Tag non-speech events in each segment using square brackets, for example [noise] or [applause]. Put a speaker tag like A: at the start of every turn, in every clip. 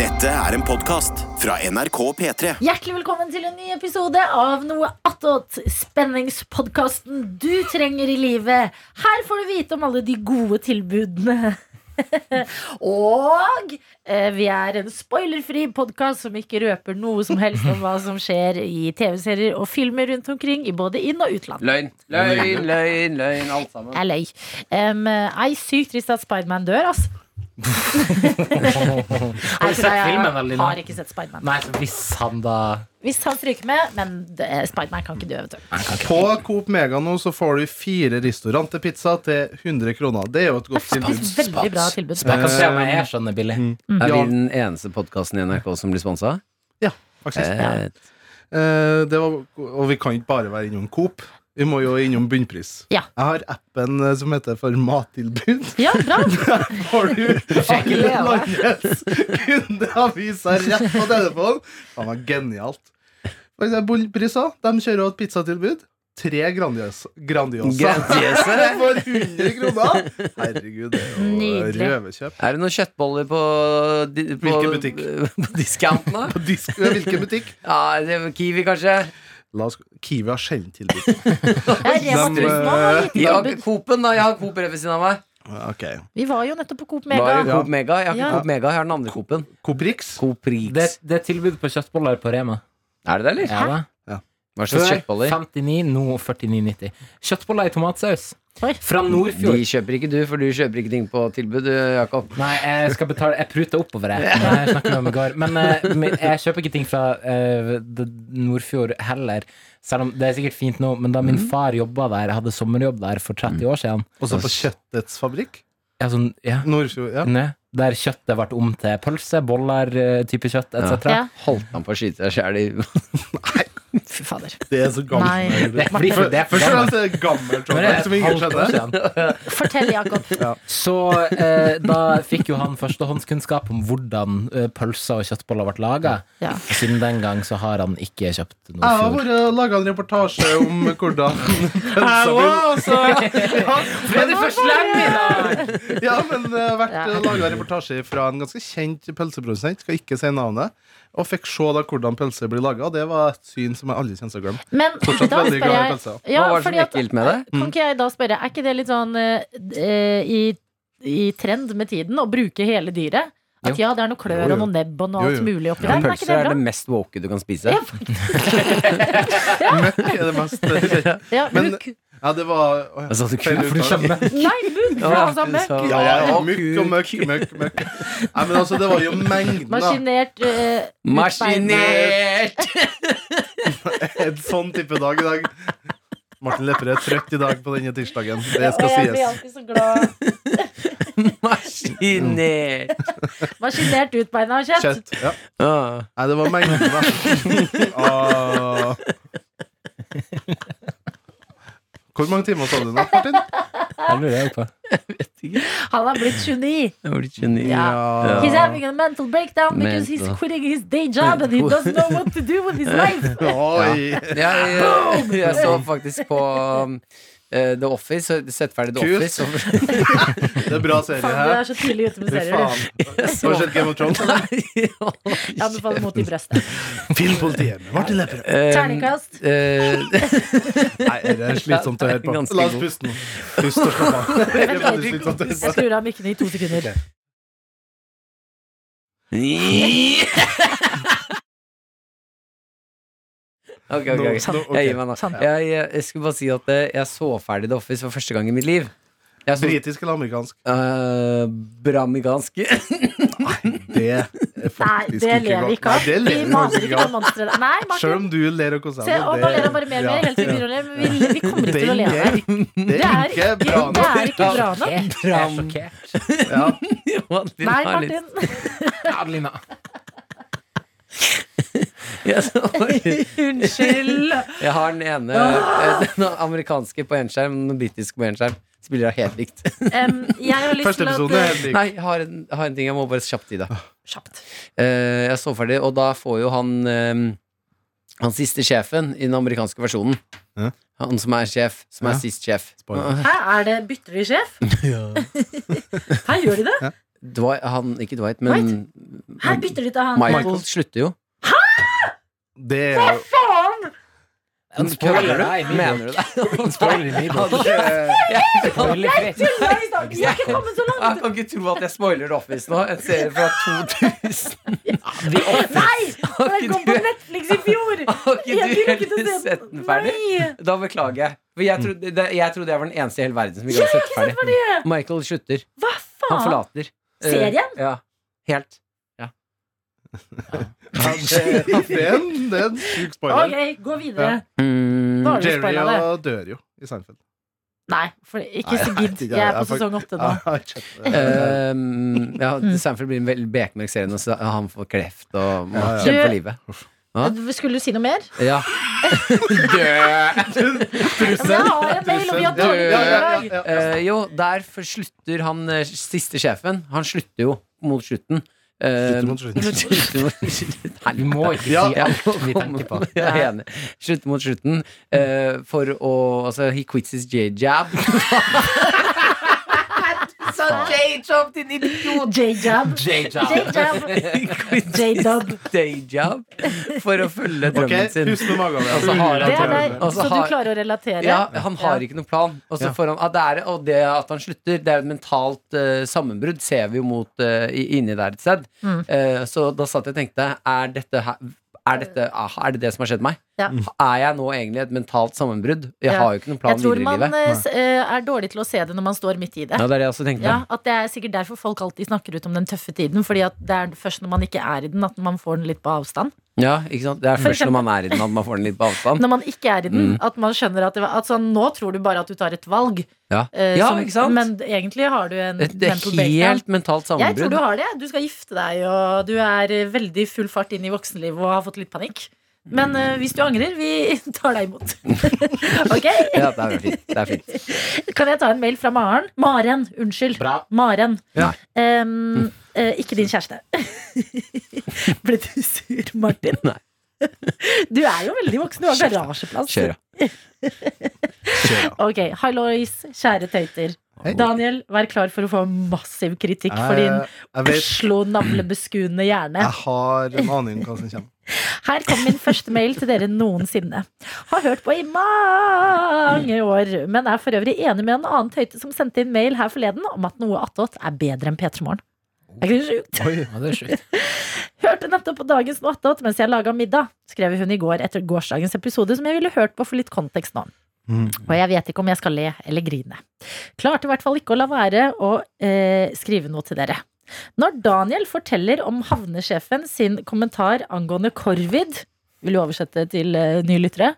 A: Dette er en podkast fra NRK P3.
B: Hjertelig velkommen til en ny episode av Noe attåt, spenningspodkasten du trenger i livet. Her får du vite om alle de gode tilbudene. [laughs] Og eh, vi er en spoilerfri podkast som ikke røper noe som helst om hva som skjer i TV-serier og filmer rundt omkring i både inn- og utland.
C: Løgn, løgn, løgn, løgn, alt sammen.
B: Jeg løy. Um, jeg er sykt trist at Spiderman dør,
D: [laughs]
B: ass.
D: Har du sett filmen, da, Lina?
B: Har ikke sett Spiderman.
D: Nei, så hvis han da
B: Hvis han stryker med, men eh, Spiderman kan ikke dø, vet du.
E: På Coop Mega nå så får du fire restaurantepizza til 100 kroner. Det er jo et godt tilbud.
B: Faktisk veldig bra tilbud.
D: Jeg kan se om jeg er skjønner billig.
B: Mm.
C: Er
E: Ja.
C: vi den eneste podkasten i NRK som blir sponsa?
E: Ja, faktisk.
C: Eh,
E: Eh, det var, og vi kan ikke bare være innom Coop. Vi må jo innom bunnpris.
B: Ja.
E: Jeg har appen eh, som heter for Mattilbud. [laughs]
B: Ja, bra.
E: Får du alle landets kundeaviser rett på telefonen? Det var genialt. For eksempel Bunnpris, da. de kjører også et pizzatilbud. Tre grandios, Grandiosa
C: Grandiose?
E: [laughs] for 100 kroner! Herregud, det er
B: Nydelig.
E: jo røverkjøp.
C: Er det noen kjøttboller på, di, på
E: Hvilken butikk?
C: [laughs] På discount nå?
E: På disk, hvilken butikk?
C: Ja, det er Kiwi, kanskje?
E: [laughs] La oss, Kiwi har sjelden tilbud.
B: Ja, Rema
E: Dem,
B: 1000 var
E: eh,
B: litt
C: Ja,
B: tilbud.
C: Coop-en, da. Jeg har Coop rett ved siden av meg.
E: Ah, Ok.
B: Vi var jo nettopp på Coop
C: Var det
B: Mega.
C: Coop Mega? Jeg har ikke
B: Ja.
C: Coop Mega, jeg har den andre Coop-en.
E: Coprix.
C: Coop
D: Det,
C: Rix.
D: det er tilbud på kjøttboller på Rema.
C: Er det det, eller?
D: Ja, da.
C: Hva
D: Før
C: slags kjøttboller?
D: 59, nå 49,90. Kjøttboller i tomatsaus.
B: Oi.
D: Fra
C: De
D: Nordfjord.
C: kjøper ikke du, for du kjøper ikke ting på tilbud, du, Jakob.
D: Nei, jeg skal betale Jeg pruter oppover, jeg. jeg snakker med meg i går. Men eh, men jeg kjøper ikke ting fra eh, det- Nordfjord heller. Selv om det er sikkert fint nå, men da
B: Mm.
D: min far jobba der, hadde sommerjobb der for 30 år siden
E: Også på Kjøttets fabrikk.
D: ja, sånn, ja,
E: Nordfjord. Ja.
D: ne, Der kjøttet ble om til pølse, boller, eh, type kjøtt etc.
B: Ja.
C: Holdt han på å skyte seg sjæl i [laughs]
B: Fy fader.
E: Det er så gammelt.
B: Nei.
D: Det
E: Nei,
D: er fordi- det er for
E: Først og
D: gammelt.
E: fremst er det gammelt
D: Men det er
E: Trondheim
D: et
E: som ingen
D: halvt år
E: skjønner.
D: siden.
B: Fortell, Jakob.
D: Så eh, da fikk jo han førstehåndskunnskap om hvordan eh, pølser og kjøttboller ble laga.
B: Ja.
D: Siden den gang så har han ikke kjøpt noe
E: Jeg har
D: fjord.
E: vært og laga en reportasje om
D: [laughs]
E: hvordan pølsa
D: altså. Ble du for slem i dag?
E: blir Ja, men jeg har vært
B: Ja.
E: og laga en reportasje fra en ganske kjent pølseprodusent, skal ikke si navnet, og fikk se da hvordan pølse blir laga. Det var et syn som jeg aldri kommer til å glemme.
B: Men
E: Fortsatt
B: da
E: veldig
B: spør
E: glad i
B: jeg
E: pølser.
B: ja,
C: Hva var det som
B: fordi at-
C: gikk gildt med det?
B: Kan ikke jeg da spørre, er ikke det litt sånn eh, d- eh, i, i trend med tiden å bruke hele dyret? At ja, det er noe klør
E: Jo, jo.
B: og noe nebb og noe
E: Jo,
B: alt
E: jo.
B: mulig oppi der.
C: Ja,
B: men Er ikke
C: Pølser
B: det
C: er
B: bra?
C: det mest woke du kan spise.
B: Ja.
E: Møkk er det mest
D: [laughs]
E: kjente.
B: Ja,
E: Men-
B: muk.
E: Ja, det var å, ja.
C: Altså, du
E: Feil
D: For du
E: uttalelse.
D: skjønner.
B: Nei, muk! For han sa møkk.
E: Ja, ja, møkk og møkk, møkk, møkk. Nei, men altså, det var jo mengden av
B: Maskinert. eh,
C: Maskinert!
E: [laughs] en sånn type dag i dag. Martin Lepperød er trøtt i dag på denne tirsdagen. Det
B: og
E: skal
B: jeg blir altså
E: sies.
B: alltid så glad.
C: [laughs] Maskinert!
B: Maskinert utbeina kjøtt. kjøtt.
E: Kjøtt. Ja.
C: Ah.
E: Nei, det var mengden, da. Ah. Hvor mange timer sa du nå, Martin?
D: Jeg lurer jeg på.
B: Han har blitt 29.
C: Jeg blir geni.
E: Ja.
B: He's having a mental breakdown because
C: Mental.
B: he's quitting his day job and he doesn't know what to do with his
E: [laughs]
B: life.
E: Oi.
C: Jeg, jeg, jeg så faktisk på um, eh, The Office, så sett ferdig The
E: Kult.
C: Office. og-
E: Det er bra serie
B: Faen, du
E: her.
B: er så tidlig ute med
E: Fy
B: serier. du.
E: faen. [laughs] Har du sett Game of Thrones? eller?
C: [laughs]
B: Jeg anbefaler mot i brøstet.
E: Filmpolitiet med Martin Lepperød.
B: Terningkast.
C: Eh,
E: Um, Nei, det er slitsomt å høre på.
C: Ganske
E: La oss
C: god.
E: puste nå. Pust og
B: [laughs]
E: slapp av. Det er veldig slitsomt å
B: Jeg
E: høre på.
B: skrur av mikken i to sekunder.
C: [laughs] Ok, ok, ok.
E: Nå- nå- ok.
C: Jeg gir meg nå.
B: Sant.
C: Jeg, jeg, jeg skulle bare si at eh, jeg så ferdig The Office for første gang i mitt liv. Jeg så
E: Britisk eller amerikansk?
C: eh, bramigansk. [laughs]
E: Det er
B: Nei,
E: faktisk
B: det
E: ikke
B: ler vi
E: godt.
B: ikke
E: Nei,
B: av.
E: det
B: Vi
E: ler vi
B: maser
E: faktisk
B: ikke
E: ikke
B: om
E: av.
B: monstre. Nei,
E: Selv
B: Martin.
E: om du ler og koser
B: Se, og nå ler han bare mer og mer. Helt til vi begynner å le, men vi, vi kommer ikke til å le av det.
E: Det
B: Det er
E: er ikke
B: ikke,
E: bra
B: det
E: nok.
B: er ikke bra nok.
D: Jeg er sjokkert.
E: Ja.
B: Nei,
E: [laughs]
B: Martin.
D: Adelina.
C: Jeg,
E: [laughs]
C: så,
B: Unnskyld.
C: jeg har den ene eh, [laughs] Den amerikanske på én skjerm, den britiske på én skjerm. Spiller av helt likt.
B: Em, jeg har lyst
E: Første
B: til at eh,
E: episode er helt lik.
C: Nei, jeg har en, jeg har en ting jeg må bare kjapt i deg.
B: Kjapt.
C: Eh, jeg så ferdig, og da får jo han eh, Han siste sjefen i den amerikanske versjonen.
E: Ja.
C: Han som er sjef, som er
E: Ja.
C: sist sjef. Ah,
E: Spoiler.
B: Hæ, er det bytter de sjef? Hæ, gjør de det?
C: Dwight, han, ikke Dwight, men
B: Her bytter de til han.
C: Michael slutter jo.
E: Det er jo
B: Faen!
D: Han spoiler
C: du?
D: deg i
C: [laughs] Mener du det?
D: Han spoiler i Meebook. Veldig frekt.
B: Tulla
C: [laughs]
B: i stad! Vi har ikke kommet så
C: Ah, Jeg
B: langt.
C: kan ikke tro at jeg spoiler The Office nå. En serie
B: [laughs]
C: fra 2000.
B: Nei! Den kom på Netflix i fjor!
C: Har ikke
B: Jeg
C: du
B: fikk ikke
C: heller
B: til å se
C: sett den ferdig?
B: Nei!
C: Da beklager jeg. For jeg trodde, det, jeg trodde jeg var den eneste i hele verden som ikke hadde sett ferdig. Michael slutter.
B: Hva
C: Han
D: Ah.
B: faen?
C: forlater.
B: Serien?
C: Eh, ja. Helt.
E: ja, det, det er en, det er en sjuk spoiler.
B: Ok, gå videre.
E: Ja.
B: Nå har du
E: Jerry
B: spoila det.
E: og dør jo i Seinfeld.
B: Nei, for ikke så
E: Nei, jeg
B: gidd.
E: vet ikke,
B: Jeg er på
E: jeg får-
B: sesong åtte nå.
E: Ja, jeg har ikke sett det.
C: Um, ja,
D: Mm.
C: Sanford blir en veldig bekmørk serie når sa- han får kreft og må
E: Ja, ja.
C: kjempe
B: Du-
C: for livet.
B: Skulle du si noe mer?
C: Ja.
B: Ja, men jeg har en mail, og vi har
E: Ja,
B: dårlig
E: ja, ja, ja,
B: dag.
E: ja.
C: Eh, jo, der for- slutter han eh, siste sjefen. Han slutter jo mot slutten. Eh,
E: Slutter mot slutten.
C: [laughs] slutter mot slutten.
D: [laughs] Vi må ikke si
E: Ja.
D: alt vi tenker på.
C: [laughs] Jeg er enig. Slutter mot slutten. eh, for å Altså, he quits his j-jab.
B: J-jab. [laughs] J-jab.
C: He quits his
B: J-dub.
C: day-job for å følge drømmen
E: Ok,
C: sin.
E: pust med magen.
C: Og så har han
B: Det er der,
C: Og
B: så
C: så
B: du
C: har-
B: klarer å relatere?
C: Ja, han har
B: Ja.
C: ikke noen plan. Og, så
E: Ja.
C: får han, ah, det er, og det at han slutter, det er jo et mentalt eh, sammenbrudd, ser vi jo mot eh, i- inni der et sted.
B: Mm.
C: Eh, så da satt jeg og tenkte, er dette her er, dette, ah, er det det som har skjedd meg?
B: Ja.
C: Er jeg nå egentlig et mentalt sammenbrudd? Jeg
B: Ja.
C: har jo ikke noen plan
B: Jeg tror
C: videre i
B: man
C: livet.
B: eh, s- eh, er dårlig til å se det når man står midt i det.
C: Ja, det er det jeg også tenkte.
B: Ja, at Det er sikkert derfor folk alltid snakker ut om den tøffe tiden. Fordi at det er først når man ikke er i den, at man får den litt på avstand.
C: Ja, ikke sant? Det er
B: For
C: først når man er i den at man får den litt på avstand.
B: Når man ikke er i den,
C: Mm.
B: at man skjønner at, det var, at sånn, nå tror du bare at du tar et valg.
C: Ja,
B: eh,
C: ja
B: som-
C: ikke sant?
B: Men egentlig har du en
C: det, det er
B: mental breakdown.
C: helt mentalt
B: Jeg tror
C: sammenbrudd.
B: du har det. Du skal gifte deg, og du er eh, veldig full fart inn i voksenlivet og har fått litt panikk. Men eh, hvis du angrer, vi [laughs] tar deg imot. [laughs] ok?
C: Ja, det er jo fint. Det er fint.
B: Kan jeg ta en mail fra Maren? Maren, unnskyld.
D: Bra.
B: Maren.
C: Ja. Mm.
B: Ehm, eh, ikke din
C: [laughs]
B: kjæreste. Ble du sur, Martin?
C: Nei.
B: [laughs] Du er jo veldig voksen. Du har garasjeplass.
C: Kjør, ja.
B: Ok, Hallois, kjære tøyter.
E: Hei.
B: Daniel, vær klar for å få massiv kritikk for din
E: Jeg, Eh, jeg vet
B: Oslo-navlebeskuende hjerne.
E: Jeg har en aning om hva som kommer.
B: Her kom min første mail til dere noensinne. Har hørt på i mange år, men er for øvrig enig med en annen tøyte som sendte inn mail her forleden om at noe attåt er bedre enn P3 Morgen. Er ikke det sjukt?
D: Ja, det er sjukt.
B: Hørte nettopp på dagens noe attåt mens jeg laga middag, skrev hun i går etter gårsdagens episode, som jeg ville hørt på for litt kontekst nå. Og jeg vet ikke om jeg skal le eller grine. Klarte i hvert fall ikke å la være å eh, skrive noe til dere. Når Daniel forteller om havnesjefen sin kommentar angående korvid Vil du oversette til eh, nye lyttere?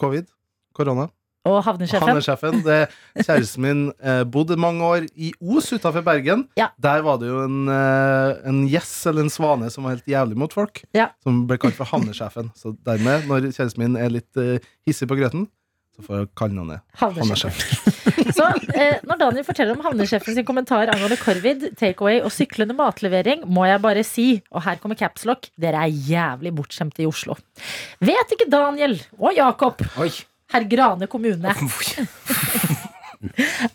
E: Covid. Korona.
B: Og havnesjefen?
E: Havnesjefen. Det kjæresten min eh, bodde mange år i Os utafor Bergen.
B: Ja.
E: Der var det jo en, eh, en gjess eller en svane som var helt jævlig mot folk.
B: Ja.
E: Som ble kalt for havnesjefen. Så dermed, når kjæresten min er litt eh, hissig på grøten, så får jeg kalle han det.
B: Havnesjefen.
E: Havnesjefen.
B: Så eh, når Daniel forteller om havnesjefen sin kommentar angående korvid, takeaway og syklende matlevering, må jeg bare si, og her kommer capslock, dere er jævlig bortskjemte i Oslo. Vet ikke Daniel og Jakob,
D: Oi.
B: herr Grane kommune,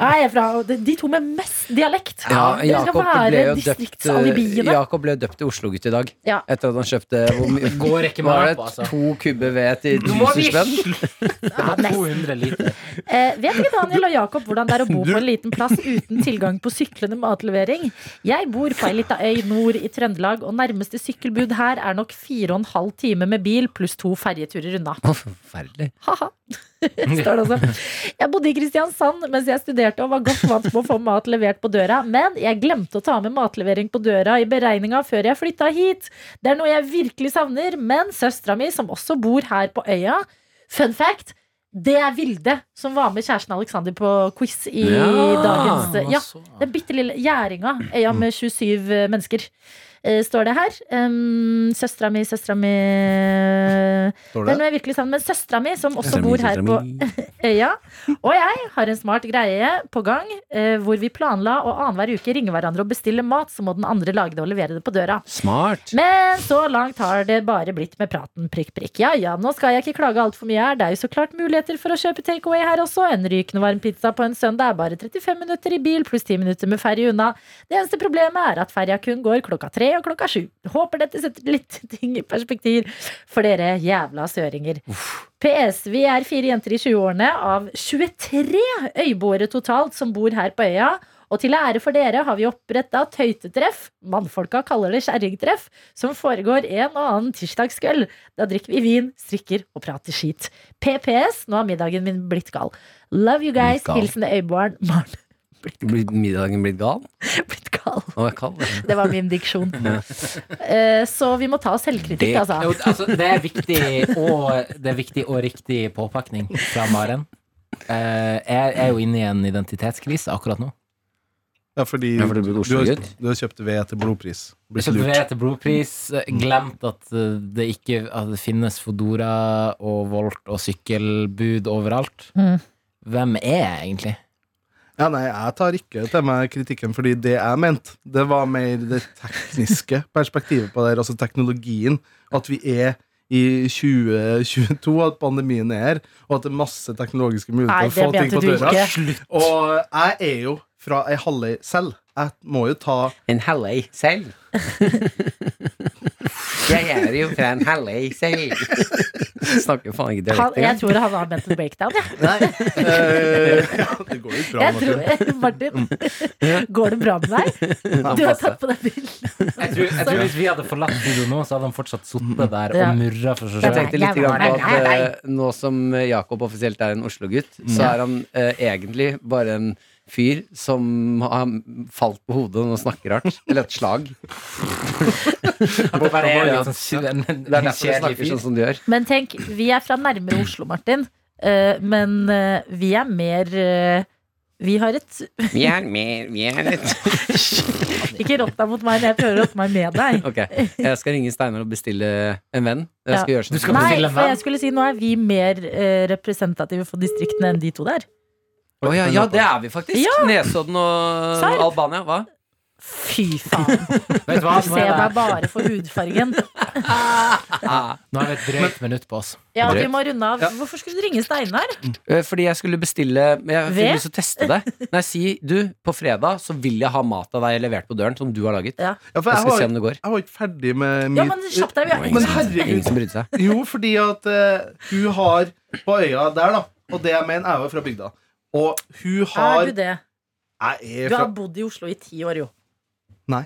B: er jeg fra de to med mest dialekt.
C: Ja,
B: Dere skal
C: Jakob ble
B: være
C: jo døpt eh,
B: distriktsalibien.
C: Jakob ble døpt til Oslo-gutt i dag.
B: Ja.
C: Etter at han kjøpte hvor mye
D: Går ikke med
C: Var
D: opp, altså.
C: det to kubber ved til
D: må vi
C: 1000 spenn?
B: Ja, nei.
D: 200 liter.
B: Eh, vet ikke Daniel og Jakob hvordan det er å bo på en liten plass uten tilgang på syklende matlevering? Jeg bor på ei lita øy nord i Trøndelag, og nærmeste sykkelbud her er nok fire og en halv time med bil pluss to ferjeturer unna.
C: Å, Forferdelig.
B: Haha, [laughs] står det også. Jeg bodde i Kristiansand mens jeg studerte og var godt vant med å få mat levert på døra, men jeg glemte å ta med matlevering på døra i beregninga før jeg flytta hit. Det er noe jeg virkelig savner, men søstera mi, som også bor her på øya Fun fact, det er Vilde som var med kjæresten Alexander på quiz i eh,
C: Ja. Mm.
B: dagens Ja, den bitte lille Gjæringa, øya med 27 mennesker. eh, står det her. Um, søstera mi, søstera mi Den
E: Står det?
B: er jeg virkelig sammen med. Søstera mi, som også
C: Søstera mi,
B: bor her
C: søstera
B: på
C: mi.
B: [laughs] øya. Og jeg har en smart greie på gang eh, hvor vi planla å annenhver uke ringe hverandre og bestille mat, så må den andre lage det og levere det på døra.
C: Smart.
B: Men så langt har det bare blitt med praten prikk, prikk. Ja ja, nå skal jeg ikke klage altfor mye her. Det er jo så klart muligheter for å kjøpe takeaway her også. En rykende varm pizza på en søndag er bare 35 minutter i bil pluss 10 minutter med ferje unna. Det eneste problemet er at ferja kun går klokka tre og klokka sju. Håper dette setter litt [laughs] ting i perspektiv for dere jævla søringer. PS. Vi er fire jenter i 20-årene av 23 øyboere totalt som bor her på øya. Og til ære for dere har vi oppretta tøytetreff, mannfolka kaller det kjerringtreff, som foregår en og annen tirsdagskveld. Da drikker vi vin, strikker og prater skit. PPS. Nå har middagen min blitt gal. Love you guys.
C: Blitt gal.
B: Hilsen [laughs] øyboeren Maren.
C: Blir middagen blitt gal?
B: Blitt gal.
C: Nå er jeg kald. jeg.
B: Det var min diksjon. Eh, Så vi må ta oss selvkritikk,
C: Det-
B: altså.
D: Jo, altså, det er viktig og, det er viktig og riktig påpakning fra Maren. Eh, jeg er jo inne i en identitetskrise akkurat nå.
E: Ja, fordi
C: Ja, for du blir
E: har,
C: Oslo-gutt.
E: du har kjøpt ved til blodpris. Blitt
D: Jeg kjøpte ved
E: lurt.
D: etter blodpris, eh, glemt at eh, det ikke at det finnes Fodora og Volt og sykkelbud overalt.
B: Mm.
D: Hvem er jeg egentlig?
E: Ja, nei, jeg tar ikke til meg kritikken, fordi det jeg mente, det var mer det tekniske [laughs] perspektivet på det her, altså teknologien. At vi er i 2022, at pandemien er her, og at det er masse teknologiske
B: Nei,
E: muligheter
B: det
E: å få ting
B: mente
E: på
B: du
E: døra.
B: ikke.
E: Og jeg er jo fra ei halvøy selv. Jeg må jo ta
C: En halvøy selv. [laughs] Jeg er jo fra en halvøy [laughs] selv. Snakker faen ikke
B: Han,
C: dialekt
B: jeg
C: engang.
B: tror han har mental breakdown, jeg. [laughs]
E: Nei. eh, ja, det går jo bra,
B: Jeg
E: Martin. Mm.
B: tror, Martin, [laughs] går det bra med deg? Du har tatt på deg brillene.
D: Jeg tror, jeg tror Hvis vi hadde forlatt studio nå, så hadde han fortsatt sittet der
B: Ja.
D: og murra for
C: Jeg
D: seg sjøl.
C: tenkte litt
B: Jeg
C: grann på
B: var-
C: at eh, nå som Jakob offisielt er en Oslo-gutt, så er han eh, egentlig bare en fyr som har falt på hodet og nå snakker rart. Eller et [laughs] slag.
D: Det
C: bare er jo Det er
D: en
C: derfor du
D: sånn kjedelig
C: snakker
D: fyr.
C: sånn som du gjør.
B: Men tenk, vi er fra nærmere Oslo, Martin. Eh, Men eh, vi er mer eh, Vi har et
C: [laughs] Vi er mer, vi er litt
B: Ikke rått deg mot meg, men jeg prøver å rotte meg med deg.
C: [laughs] Ok, jeg skal ringe Steinar og bestille en venn. Jeg
B: Ja.
C: skal gjøre sånn.
D: Du skal
B: Nei,
D: bestille en
B: for
D: venn?
B: jeg skulle si nå er vi mer eh, representative for distriktene enn de to der.
C: Å ja, ja, det er vi faktisk. Nesodden og
B: Serr.
C: Albania. Hva? [laughs]
B: Fy faen.
D: Vet du hva?
B: Du
D: Nå
B: ser
D: er
B: meg
D: det,
B: bare for hudfargen.
C: Ah.
D: nå er det et drøyt minutt på oss.
B: Ja, vi må runde av. Hvorfor skulle du ringe Steinar?
C: Eh, Fordi jeg skulle bestille men Jeg
B: Ved?
C: fikk lyst til å teste det. Nei, si du, på fredag så vil jeg ha mat av deg levert på døren som du har laget.
B: Ja.
E: Ja, for
C: Jeg
E: jeg
C: skal
E: var,
C: se om det går.
E: jeg var ikke ferdig med mitt
B: Ja, men kjapp deg. Vi er ikke
E: Men
B: så-
E: herregud,
C: Ingen som brydde seg.
E: Jo, fordi at eh, hun har På øya der, da. Og det jeg mener, er jo fra bygda. Og hun har
B: Er du det?
E: Jeg er
B: Du
E: fra
B: har bodd i Oslo i ti år, jo.
E: Nei.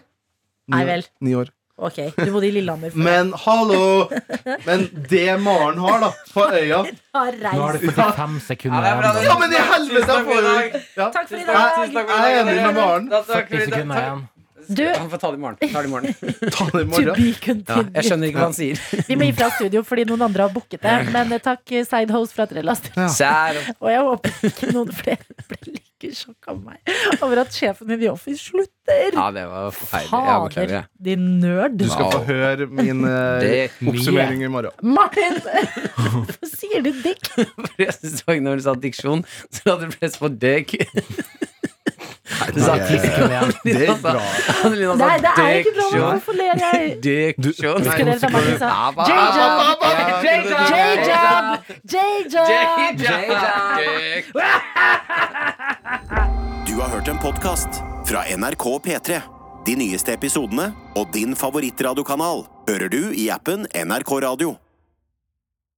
B: Nei vel.
E: Ni år.
B: Ok, du bodde i Lillehammer før.
E: Men hallo! Men det Maren har, da, på øya
B: Har
D: Nå har
B: reist.
D: du 45 sekunder igjen.
E: Ja, men i helvete! Jeg får jo ja.
B: Takk for i
E: Jeg
B: dag!
E: jeg er enig med Maren.
D: 40 sekunder igjen.
B: Du,
C: Han får ta det i morgen. Ta det i morgen.
E: Ta det i
B: to
E: morgen.
B: be
C: Ja, jeg
B: continued.
C: skjønner ikke hva han sier.
B: Vi må gi fra studio fordi noen andre har booket det. Men eh, takk, eh, side host fra Trellast.
C: Sær.
B: Og jeg håper ikke noen flere [laughs] ble like sjokk av meg over at sjefen min i Office slutter.
C: Ja, det var forferdelig. Jeg beklager.
B: Fader,
C: jeg.
B: din nerd.
E: Du skal få høre min eh,
C: Det-
E: oppsummering i morgen.
B: Martin! Hvorfor sier du
C: [laughs]
B: dick?
C: For [laughs] jeg synes det var ikke Når du sa diksjon, så hadde du press på deg. Du sa
E: det- Det gikk bra.
C: Adelina sa
B: Nei, det er ikke lov.
C: diksjon.
B: Hvorfor ler jeg?
C: Diksjon.
B: Husker dere da Martin sa
C: Ja, hva-
B: J-job,
C: J-job.
B: J-job, J-job!
C: J-job.
A: Du har hørt en podcast fra NRK P3. De nyeste episodene og din favorittradiokanal hører du i appen NRK Radio.